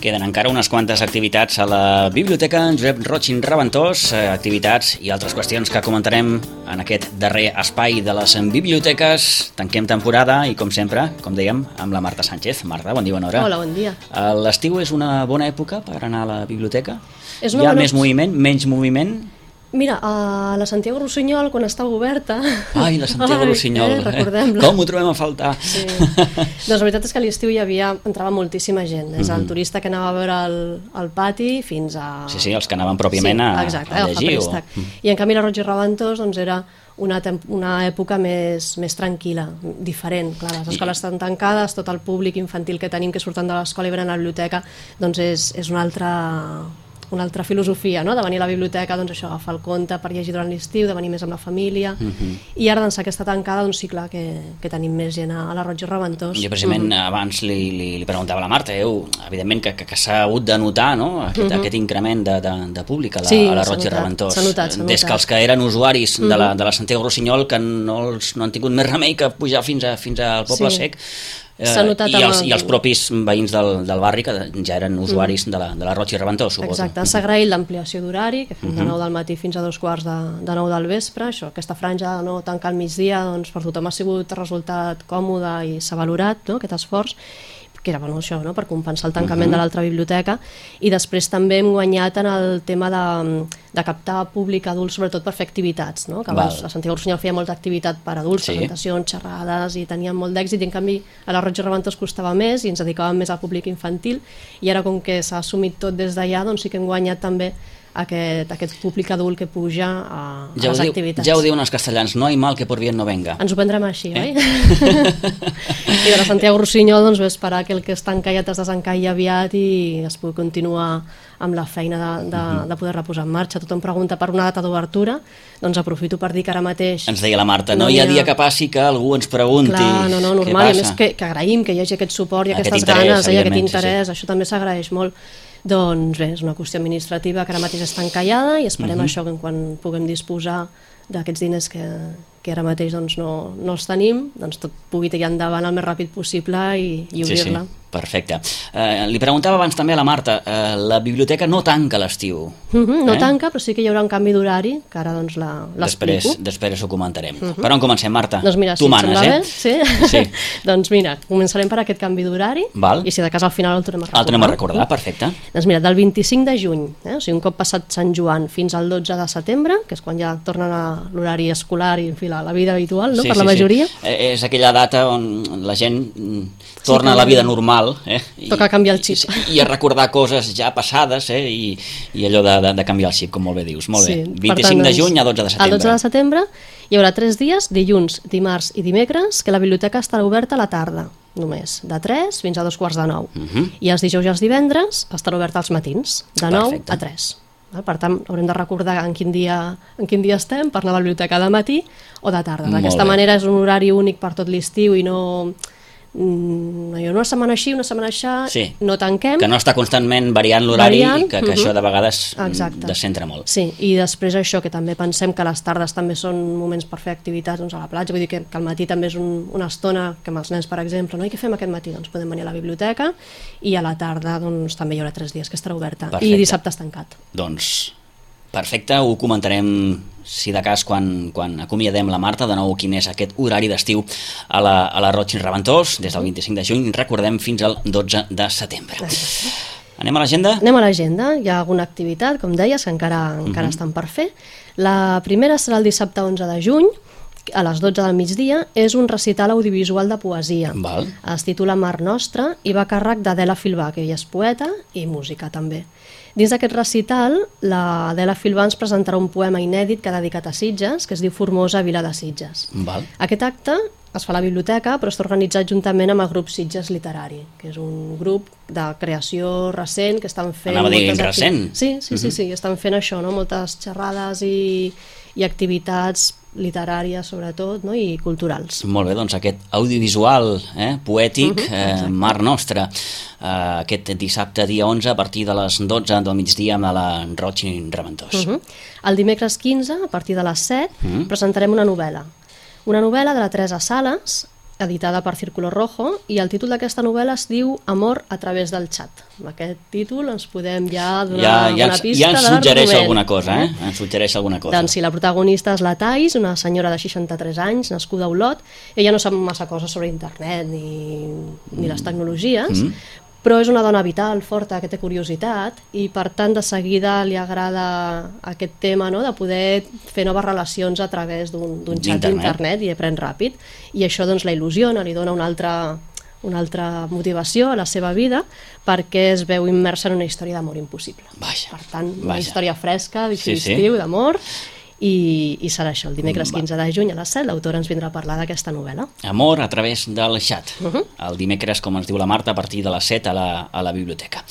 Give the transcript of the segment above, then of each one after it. queden encara unes quantes activitats a la biblioteca en Josep Roig Reventós, eh, activitats i altres qüestions que comentarem en aquest darrer espai de les biblioteques. Tanquem temporada i, com sempre, com dèiem, amb la Marta Sánchez. Marta, bon dia, bona hora. Hola, bon dia. Eh, L'estiu és una bona època per anar a la biblioteca? És una Hi ha bona més op- moviment, menys moviment? Mira, a la Santiago Rossinyol, quan estava oberta... Ai, la Santiago Ai, Rossinyol. Eh, Recordem-la. Com ho trobem a faltar? Sí. doncs la veritat és que a l'estiu hi havia, entrava moltíssima gent, des del turista que anava a veure el, el pati fins a... Mm-hmm. Sí, sí, els que anaven pròpiament a, exacte, a Mm. el llegir. o- Happenstack. I en canvi la Roig i Raventós doncs, era una, tem- una època més, més tranquil·la, diferent. Clar, les escoles estan tancades, tot el públic infantil que tenim que surten de l'escola i venen a la biblioteca, doncs és, és una altra una altra filosofia, no? de venir a la biblioteca, doncs això, agafar el conte per llegir durant l'estiu, de venir més amb la família, Mhm. i ara d'ençà que està tancada, doncs sí, clar, que, que tenim més gent a, a la Roig i Reventós. Jo precisament Mm-hmm. abans li, li, li preguntava a la Marta, eu, evidentment que, que, que s'ha hagut de notar no? aquest, aquest increment de, de, de públic a la, Mm-hmm. Sí, a la s'ha Roig i notat, Reventós. s'ha notat, Des que s'ha notat. Mm-hmm. els que eren usuaris de, la, de la Santiago Rossinyol que no, els, no han tingut més remei que pujar fins, a, fins al poble Sí. sec, eh, S'ha notat i, els, amb el- Mm-hmm. I els propis veïns del, del barri que de- ja eren usuaris de, la, de la Roig i Reventós, suposo. Exacte, s'ha agraït l'ampliació d'horari, que Mhm. fem de 9 del matí fins a dos quarts de, de 9 del vespre, això, aquesta franja de no tancar al migdia, doncs per tothom ha sigut resultat còmode i s'ha valorat no, aquest esforç, que era bueno, això, no? per compensar el tancament de l'altra biblioteca, i després també hem guanyat en el tema de, de captar públic adult, sobretot per fer activitats, no? que abans Val. la Santiago Rossinyol feia molta activitat per adults, Sí. sí. presentacions, xerrades, i tenien molt d'èxit, i en canvi a la Roig i Reventós costava més, i ens dedicàvem més al públic infantil, i ara com que s'ha assumit tot des d'allà, doncs sí que hem guanyat també aquest, aquest públic adult que puja a, a Ja ho, les diu, activitats. ja ho diuen els castellans, no hay mal que por bien no venga. Ens ho prendrem així, eh? oi? I de la Santiago Rossinyol doncs, vam esperar que el que està encallat es desencalli aviat i es pugui continuar amb la feina de, de, Mhm. de poder-la posar en marxa. Tothom pregunta per una data d'obertura, doncs aprofito per dir que ara mateix... Ens deia la Marta, no, no hi ha dia que passi que algú ens pregunti Clar, no, no, què normal, i a passa. més que, que agraïm que hi hagi aquest suport i Aquest aquestes interès, ganes, eh, i aquest evidentment, sí, interès, això també s'agraeix molt. Doncs bé, és una qüestió administrativa que ara mateix està encallada i esperem això que quan puguem disposar d'aquests diners que, que ara mateix doncs, no, no els tenim, doncs tot pugui tirar endavant el més ràpid possible i, i obrir-la. Sí, sí, perfecte. Eh, li preguntava abans també a la Marta, eh, la biblioteca no tanca a l'estiu. Mhm, No Eh? tanca, però sí que hi haurà un canvi d'horari, que ara doncs la- Després, l'explico. després ho comentarem. Uh -huh. Per on comencem, Marta? Mhm. Doncs mira, tu si et manes, sembla eh? bé, sí? Sí. doncs mira, començarem per aquest canvi d'horari Val. i si de cas al final el tornem a recordar. El tornem a recordar, perfecte. Doncs mira, del 25 de juny, eh? o sigui, un cop passat Sant Joan fins al 12 de setembre, que és quan ja tornen a l'horari escolar i en fi, la, la vida habitual, no? sí, per sí, la majoria. Sí. Eh, és aquella data on la gent mm, torna a la vida normal. Eh? Toca canviar el xip. I, i a recordar coses ja passades eh? I, i allò de, de, de canviar el xip, com molt bé dius. Molt bé. per 25 tant, de doncs, juny a 12 de setembre. A 12 de setembre hi haurà tres dies, dilluns, dimarts i dimecres, que la biblioteca estarà oberta a la tarda, només, de 3 fins a dos quarts de 9. Mhm. I els dijous i els divendres estarà oberta als matins, de 9 Perfecte. a 3. Val? Per tant, haurem de recordar en quin dia, en quin dia estem per anar a la biblioteca de matí o de tarda. Molt D'aquesta bé. manera és un horari únic per tot l'estiu i no... Mm, no, una setmana així, una setmana així, Sí. no tanquem. Que no està constantment variant l'horari i que, Variant, que mhm. això de vegades mm, Exacte. descentra molt. Sí, i després això, que també pensem que les tardes també són moments per fer activitats doncs, a la platja, vull dir que, que el matí també és un, una estona que amb els nens, per exemple, no? i què fem aquest matí? Doncs podem venir a la biblioteca i a la tarda doncs, també hi haurà tres dies que estarà oberta Perfecte. i dissabte és tancat. Doncs perfecte, ho comentarem si de cas quan, quan acomiadem la Marta de nou quin és aquest horari d'estiu a la, a la Roig i Reventós des Mm-hmm. del 25 de juny, recordem fins al 12 de setembre. Anem a l'agenda? Anem a l'agenda, hi ha alguna activitat, com deies, que encara, encara estan per fer. La primera serà el dissabte 11 de juny, a les 12 del migdia, és un recital audiovisual de poesia. Val. Es titula Mar Nostra i va a càrrec d'Adela Filbà, que ella és poeta i música també. Dins d'aquest recital, la Adela Filbà ens presentarà un poema inèdit que ha dedicat a Sitges, que es diu Formosa Vila de Sitges. Val. Aquest acte es fa a la biblioteca, però està organitzat juntament amb el grup Sitges Literari, que és un grup de creació recent que estan fent... Anava a dir moltes acti- recent. Mhm. Sí, sí, sí, sí, estan fent això, no? moltes xerrades i, i activitats literàries, sobretot, no? i culturals. Molt bé, doncs aquest audiovisual eh, poètic, Mm-hmm. eh, Mar Nostra, eh, aquest dissabte dia 11 a partir de les 12 del migdia amb la Roig i Reventós. Uh -huh. El dimecres Mhm. 15, a partir de les 7, presentarem una novel·la. Una novel·la de la Teresa Sales, editada per Círculo Rojo, i el títol d'aquesta novel·la es diu Amor a través del xat. Amb aquest títol ens podem ja donar Ja, ja, una ens, pista ja ens de suggereix l'argument. alguna cosa, eh? Ens suggereix alguna cosa. Doncs sí, la protagonista és la Thais, una senyora de 63 anys, nascuda a Olot. Ella no sap massa coses sobre internet ni, Mm. ni les tecnologies, Mm-hmm. però és una dona vital, forta, que té curiositat i per tant de seguida li agrada aquest tema no? de poder fer noves relacions a través d'un d'un xat D'internet. d'internet i aprèn ràpid i això doncs la il·lusiona, li dona una altra una altra motivació a la seva vida perquè es veu immersa en una història d'amor impossible. Vaja, per tant, una vaja. història fresca, Sí, sí. d'estiu, d'amor, i, i serà això, el dimecres 15 de juny a les 7, l'autora ens vindrà a parlar d'aquesta novel·la. Amor a través del xat. Mhm. El dimecres, com ens diu la Marta, a partir de les 7 a la, a la biblioteca.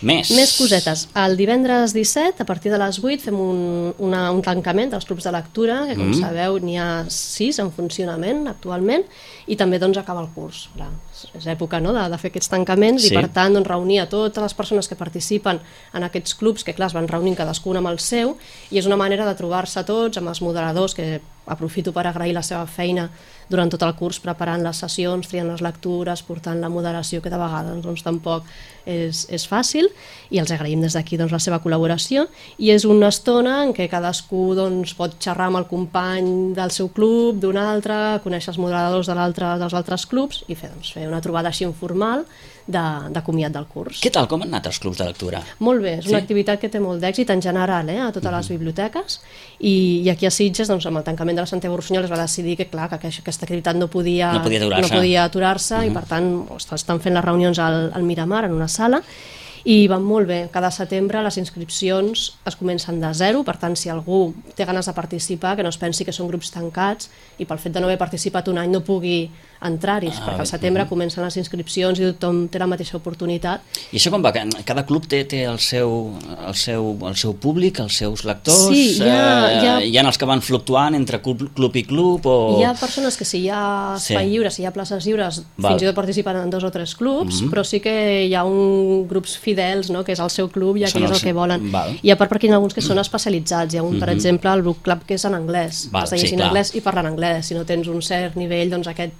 Més. Més cosetes. El divendres 17, a partir de les 8, fem un, una, un tancament dels grups de lectura, que Mm. com sabeu n'hi ha 6 en funcionament actualment, i també doncs acaba el curs. Clar, és- és època no, de, de fer aquests tancaments Sí. i per tant doncs, reunir a totes les persones que participen en aquests clubs, que clar, es van reunint cadascun amb el seu, i és una manera de trobar-se tots amb els moderadors, que aprofito per agrair la seva feina durant tot el curs, preparant les sessions, triant les lectures, portant la moderació, que de vegades doncs, tampoc és, és fàcil, i els agraïm des d'aquí doncs, la seva col·laboració, i és una estona en què cadascú doncs, pot xerrar amb el company del seu club, d'un altre, conèixer els moderadors de l'altre dels altres clubs, i fer, doncs, fer una trobada així informal de, de comiat del curs. Què tal? Com han anat els clubs de lectura? Molt bé, és una Sí. Mhm. activitat que té molt d'èxit en general eh, a totes les biblioteques i, i aquí a Sitges, doncs, amb el tancament de la Santiago Rossinyol es va decidir que clar, que aqueixa- aquesta activitat no podia No podia aturar-se. Mhm. no podia aturar-se i per tant ostres, estan fent les reunions al, al Miramar en una sala i van molt bé. Cada setembre les inscripcions es comencen de zero, per tant, si algú té ganes de participar, que no es pensi que són grups tancats i pel fet de no haver participat un any no pugui entrar-hi, Ah, perquè bé. al setembre comencen les inscripcions i tothom té la mateixa oportunitat I això com va? Que Cada club té, té el, seu, el, seu, el seu públic, els seus lectors? Sí, hi ha- eh, hi ha- hi ha els que van fluctuant entre club, club i club? O... Hi ha persones que si hi ha espai Sí. sí. lliure, si hi ha places lliures, Val. Mhm. Val. fins i tot participen en dos o tres clubs, però sí que hi ha un grups fidels, no?, que és el seu club i Són aquell és els- el que volen. Val. Mhm. I a part perquè hi ha alguns que són especialitzats. Hi ha un, per exemple, el book club que és en anglès. Val, Has sí, de llegir en clar. anglès i parlar en anglès. Si no tens un cert nivell, doncs aquest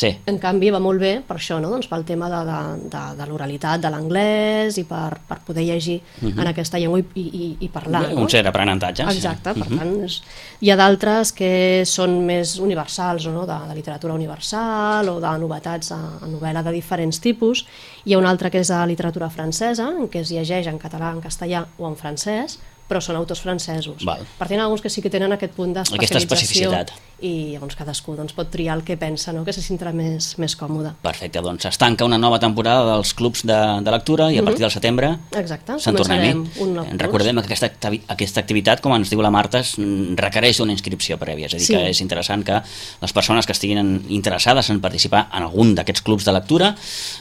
Sí, en canvi, va molt bé per això, no? doncs pel tema de, de, de, de l'oralitat, de l'anglès i per, per poder llegir en aquesta llengua i, i, i- i parlar. Mhm. Bé, no? un cert aprenentatge. Eh, sí. Mhm. Exacte, per tant, és... hi ha d'altres que són més universals, no? de, de literatura universal o de novetats a, a novel·la de diferents tipus. Hi ha un altre que és de literatura francesa, en què es llegeix en català, en castellà o en francès, però són autors francesos. Val. Per tant, hi ha alguns que sí que tenen aquest punt Aquesta d'especialització. especificitat. I llavors cadascú doncs, pot triar el que pensa, no? que se sentirà més, més còmode. Perfecte, doncs es tanca una nova temporada dels clubs de, de lectura i Mhm. a partir del setembre Exacte, se'n tornem. Ah, començarem un nou curs. Eh, Recordem que aquesta, activi- aquesta activitat, com ens diu la Marta, es- mm, requereix una inscripció prèvia, és a dir, Sí. que és interessant que les persones que estiguin en- interessades en participar en algun d'aquests clubs de lectura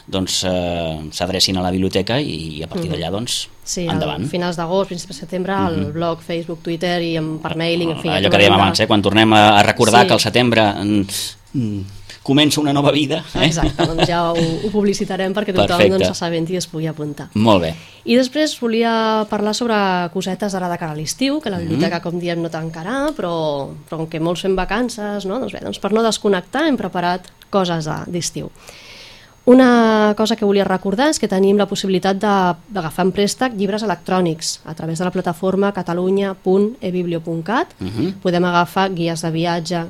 doncs eh, s'adrecin a la biblioteca i, a partir d'allà, doncs, Mm. Sí, endavant. Mhm. a finals d'agost, principis de setembre, al blog, Facebook, Twitter i en, per mailing, en fi... ja Allò que trobarem dèiem la- abans, eh, quan tornem a, a recordar Sí. que al setembre mm, mm, comença una nova vida. Eh? Exacte, doncs ja ho, ho publicitarem perquè tothom Perfecte. doncs, s'assabenti i es pugui apuntar. Molt bé. I després volia parlar sobre cosetes ara de cara a l'estiu, que la biblioteca, com diem, no tancarà, però, però com que molts fem vacances, no? doncs bé, doncs per no desconnectar hem preparat coses de- d'estiu. Una cosa que volia recordar és que tenim la possibilitat de- d'agafar en préstec llibres electrònics a través de la plataforma catalunya.ebiblio.cat. Podem agafar guies de viatge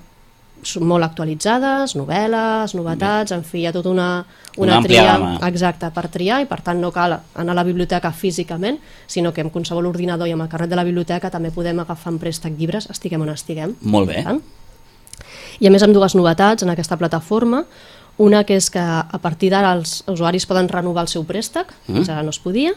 s- molt actualitzades, novel·les, novetats, en fi, hi ha tota una, Una una, àmplia tria gamma. Exacte, per triar i per tant no cal anar a la biblioteca físicament, sinó que amb qualsevol ordinador i amb el carret de la biblioteca també podem agafar en préstec llibres, estiguem on estiguem. Molt bé. Tant. I a més amb dues novetats en aquesta plataforma, una que és que a partir d'ara els usuaris poden renovar el seu préstec, fins ara no es podia,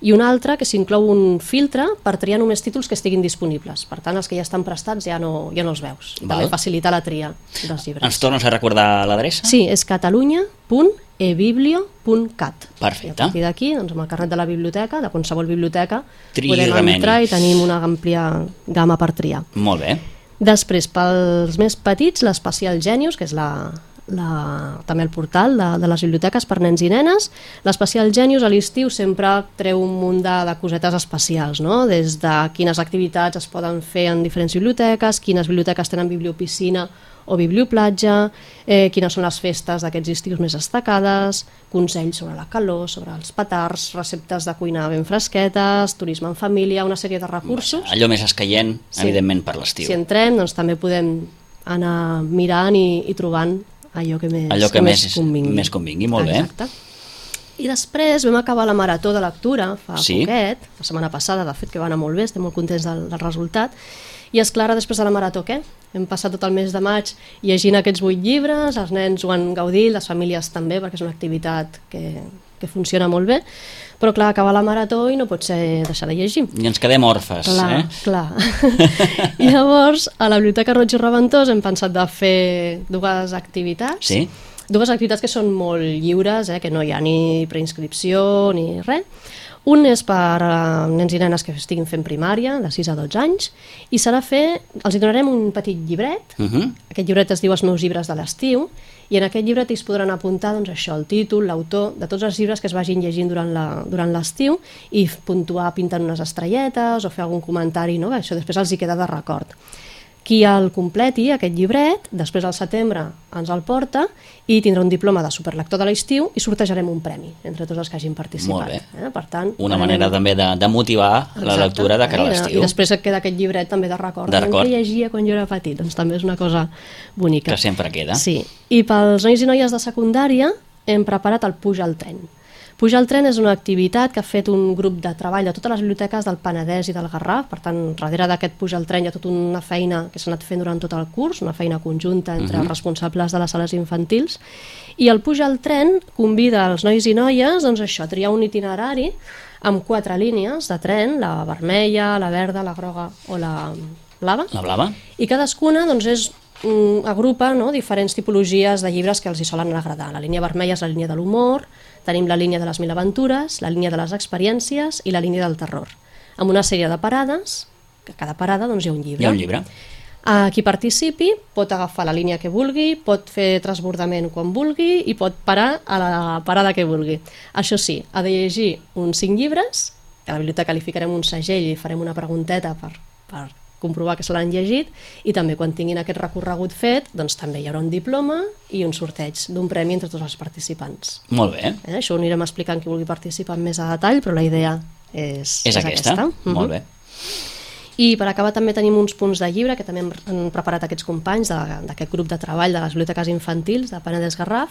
i una altra que s'inclou un filtre per triar només títols que estiguin disponibles. Per tant, els que ja estan prestats ja no, ja no els veus. I Val. Ah. També facilita la tria dels llibres. Ens tornes a recordar l'adreça? Sí, és catalunya.ebiblio.cat. Perfecte. I a partir d'aquí, doncs, amb el carnet de la biblioteca, de qualsevol biblioteca, Triï podem remeni. entrar i tenim una àmplia gamma per triar. Molt bé. Després, pels més petits, l'Especial Genius, que és la, la, també el portal de, de les biblioteques per nens i nenes. L'Especial Genius a l'estiu sempre treu un munt de, de cosetes especials, no? des de quines activitats es poden fer en diferents biblioteques, quines biblioteques tenen bibliopiscina o biblioplatja, eh, quines són les festes d'aquests estius més destacades, consells sobre la calor, sobre els petards, receptes de cuina ben fresquetes, turisme en família, una sèrie de recursos. Allò més escaient, sí. evidentment, per l'estiu. Si entrem, doncs també podem anar mirant i, i trobant allò que més, allò que, que més, més, convingui. més convingui. Molt Exacte. bé. I després vam acabar la marató de lectura fa sí. poquet, la setmana passada, de fet, que va anar molt bé, estem molt contents del, del resultat. I és clara, després de la marató, què? Hem passat tot el mes de maig llegint aquests vuit llibres, els nens ho han gaudit, les famílies també, perquè és una activitat que, que funciona molt bé, però clar, acaba la marató i no pot ser deixar de llegir. I ens quedem orfes, clar, eh? Clar, I Llavors, a la Biblioteca Roig i Reventós hem pensat de fer dues activitats. Sí? Dues activitats que són molt lliures, eh, que no hi ha ni preinscripció ni res. Un és per a nens i nenes que estiguin fent primària, de 6 a 12 anys, i serà fer... Els hi donarem un petit llibret, Uh -huh. aquest llibret es diu Els meus llibres de l'estiu, i en aquest llibret es podran apuntar doncs, això, el títol, l'autor, de tots els llibres que es vagin llegint durant la- durant l'estiu i puntuar pintant unes estrelletes o fer algun comentari, no? això després els hi queda de record. Qui el completi, aquest llibret, després al setembre ens el porta i tindrà un diploma de superlector de l'estiu i sortejarem un premi entre tots els que hagin participat. Molt bé. Eh? Per tant, Una anem- manera també de, de motivar la Exacte. lectura de cara a Eh, l'estiu. I després et queda aquest llibret també de record. De Doncs record. Que llegia quan jo era petit, doncs també és una cosa bonica. Que sempre queda. Sí. I pels nois i noies de secundària hem preparat el Puja al tren. Puja al tren és una activitat que ha fet un grup de treball de totes les biblioteques del Penedès i del Garraf, per tant, darrere d'aquest Puja al tren hi ha tota una feina que s'ha anat fent durant tot el curs, una feina conjunta entre els responsables de les sales infantils, i el Puja al tren convida els nois i noies doncs això, a triar un itinerari amb quatre línies de tren, la vermella, la verda, la groga o la blava, La blava? i cadascuna doncs, és, mm, agrupa no, diferents tipologies de llibres que els hi solen agradar. La línia vermella és la línia de l'humor, tenim la línia de les mil aventures, la línia de les experiències i la línia del terror, amb una sèrie de parades, que a cada parada doncs, hi ha un llibre. Hi ha un llibre. A qui participi pot agafar la línia que vulgui, pot fer transbordament quan vulgui i pot parar a la parada que vulgui. Això sí, ha de llegir uns cinc llibres, que a la biblioteca li ficarem un segell i farem una pregunteta per, per comprovar que se l'han llegit, i també quan tinguin aquest recorregut fet, doncs també hi haurà un diploma i un sorteig d'un premi entre tots els participants. Molt bé. Eh? Això ho anirem explicant qui vulgui participar amb més a detall, però la idea és, És, aquesta. Mhm. Molt bé. I per acabar també tenim uns punts de llibre que també hem- han preparat aquests companys de- d'aquest grup de treball de les biblioteques infantils de Penedès Garraf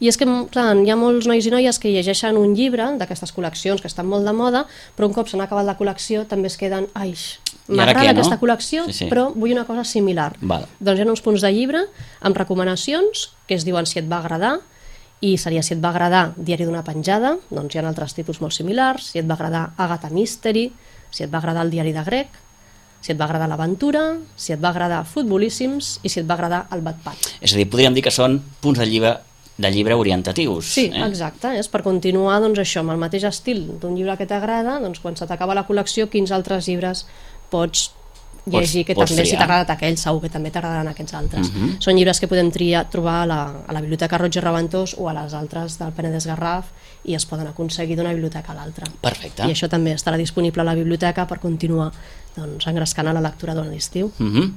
i és que clar, hi ha molts nois i noies que llegeixen un llibre d'aquestes col·leccions que estan molt de moda però un cop s'han acabat la col·lecció també es queden ai, I ara què, m'agrada no?" aquesta col·lecció Sí, sí. però vull una cosa similar Val. doncs hi ha uns punts de llibre amb recomanacions que es diuen si et va agradar i seria si et va agradar Diari d'una penjada, doncs hi ha altres títols molt similars, si et va agradar Agatha Mystery, si et va agradar el diari de grec, si et va agradar l'aventura, si et va agradar futbolíssims i si et va agradar el batpat. És a dir, podríem dir que són punts de llibre de llibre orientatius. Sí, eh? exacte, és per continuar doncs, això amb el mateix estil d'un llibre que t'agrada, doncs quan se t'acaba la col·lecció, quins altres llibres pots llegir que pots també si triar. Mhm. t'ha agradat aquell segur que també t'agradaran aquests altres. Són llibres que podem triar, trobar a la, a la Biblioteca Roig i Reventós o a les altres del Penedès Garraf i es poden aconseguir d'una biblioteca a l'altra. Perfecte. I això també estarà disponible a la biblioteca per continuar doncs, engrescant a la lectura durant l'estiu. Mhm.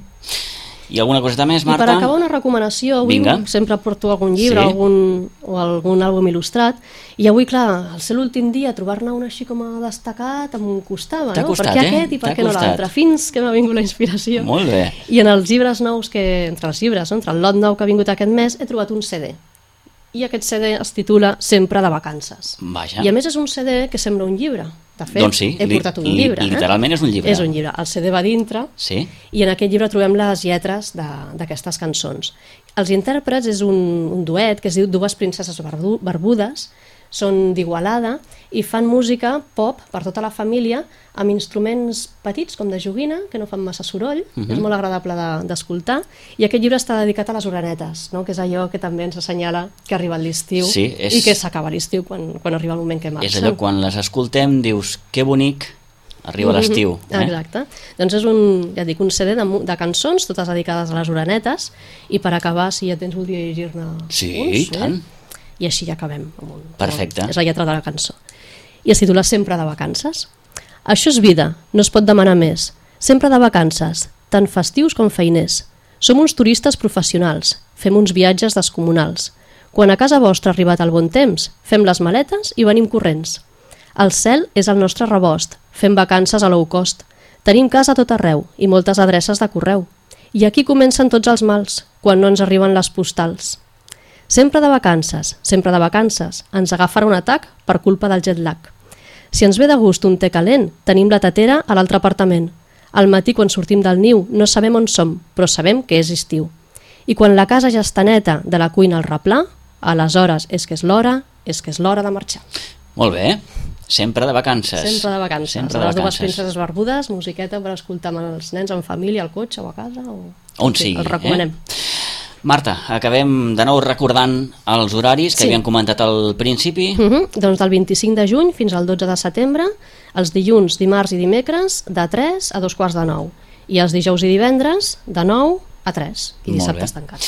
I alguna coseta més, Marta? I per acabar una recomanació, avui Vinga. sempre porto algun llibre Sí. algun, o algun àlbum il·lustrat i avui, clar, al ser l'últim dia trobar-ne un així com a destacat em costava, T'ha no? costat, per què eh? aquest i per T'ha què no costat. l'altre? Fins que m'ha vingut la inspiració. Molt bé. I en els llibres nous, que, entre els llibres, no? entre el lot nou que ha vingut aquest mes, he trobat un CD. I aquest CD es titula Sempre de vacances. Vaja. I a més és un CD que sembla un llibre. De fet, Doncs sí, he li- portat un li- llibre. eh? literalment és un llibre. És un llibre. El CD va dintre, Sí? i en aquest llibre trobem les lletres de- d'aquestes cançons. Els intèrprets és un, un duet que es diu Dues princesses barbu barbudes, són d'Igualada i fan música pop per tota la família amb instruments petits com de joguina, que no fan massa soroll, és Mhm. molt agradable de- d'escoltar, de, i aquest llibre està dedicat a les oranetes, no? que és allò que també ens assenyala que ha arribat l'estiu Sí, és- i que s'acaba l'estiu quan, quan arriba el moment que marxen. És allò quan les escoltem dius que bonic arriba l'estiu. Mm -hmm. Eh? Exacte. Doncs és un, ja et dic, un CD de, mu- de cançons, totes dedicades a les oranetes, i per acabar, si ja tens, voldria llegir-ne Sí, uns. i tant. Eh? I així ja acabem. Amb un, Perfecte. És la lletra de la cançó. I es titula Sempre de vacances. Això és vida, no es pot demanar més. Sempre de vacances, tant festius com feiners. Som uns turistes professionals, fem uns viatges descomunals. Quan a casa vostra ha arribat el bon temps, fem les maletes i venim corrents. El cel és el nostre rebost, fem vacances a low cost. Tenim casa a tot arreu i moltes adreces de correu. I aquí comencen tots els mals, quan no ens arriben les postals. Sempre de vacances, sempre de vacances, ens agafarà un atac per culpa del jet lag. Si ens ve de gust un té calent, tenim la tetera a l'altre apartament. Al matí, quan sortim del niu, no sabem on som, però sabem que és estiu. I quan la casa ja està neta de la cuina al replà, aleshores és que és l'hora, és que és l'hora de marxar. Molt bé. Sempre de vacances. Sempre de vacances. Sempre a de les dues vacances. princeses barbudes, musiqueta per escoltar amb els nens en família, al cotxe o a casa. O... On Sí, sigui, El recomanem. Eh? Marta, acabem de nou recordant els horaris que Sí. havíem comentat al principi. Uh -huh. Doncs del 25 de juny fins al 12 de setembre, els dilluns, dimarts i dimecres, de 3 a 2 quarts de 9. I els dijous i divendres, de 9 a 3. I Molt dissabtes bé. tancats.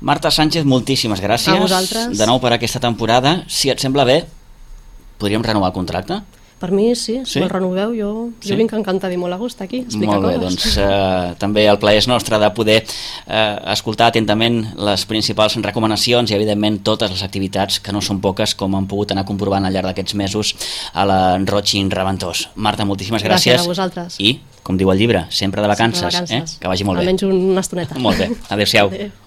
Marta Sánchez, moltíssimes gràcies. A vosaltres. De nou per aquesta temporada. Si et sembla bé, podríem renovar el contracte? Per mi, sí, Sí? si sí? me'l renoveu, jo, Sí? sí? jo vinc encantada i molt a gust aquí. a explicar Molt bé, coses. doncs eh, també el plaer és nostre de poder eh, escoltar atentament les principals recomanacions i evidentment totes les activitats que no són poques com han pogut anar comprovant al llarg d'aquests mesos a la Roig Reventós. Marta, moltíssimes gràcies. Gràcies a vosaltres. I, com diu el llibre, sempre de vacances, Vacances. eh? que vagi molt bé. Almenys una estoneta. Molt bé, adéu-siau. Adéu.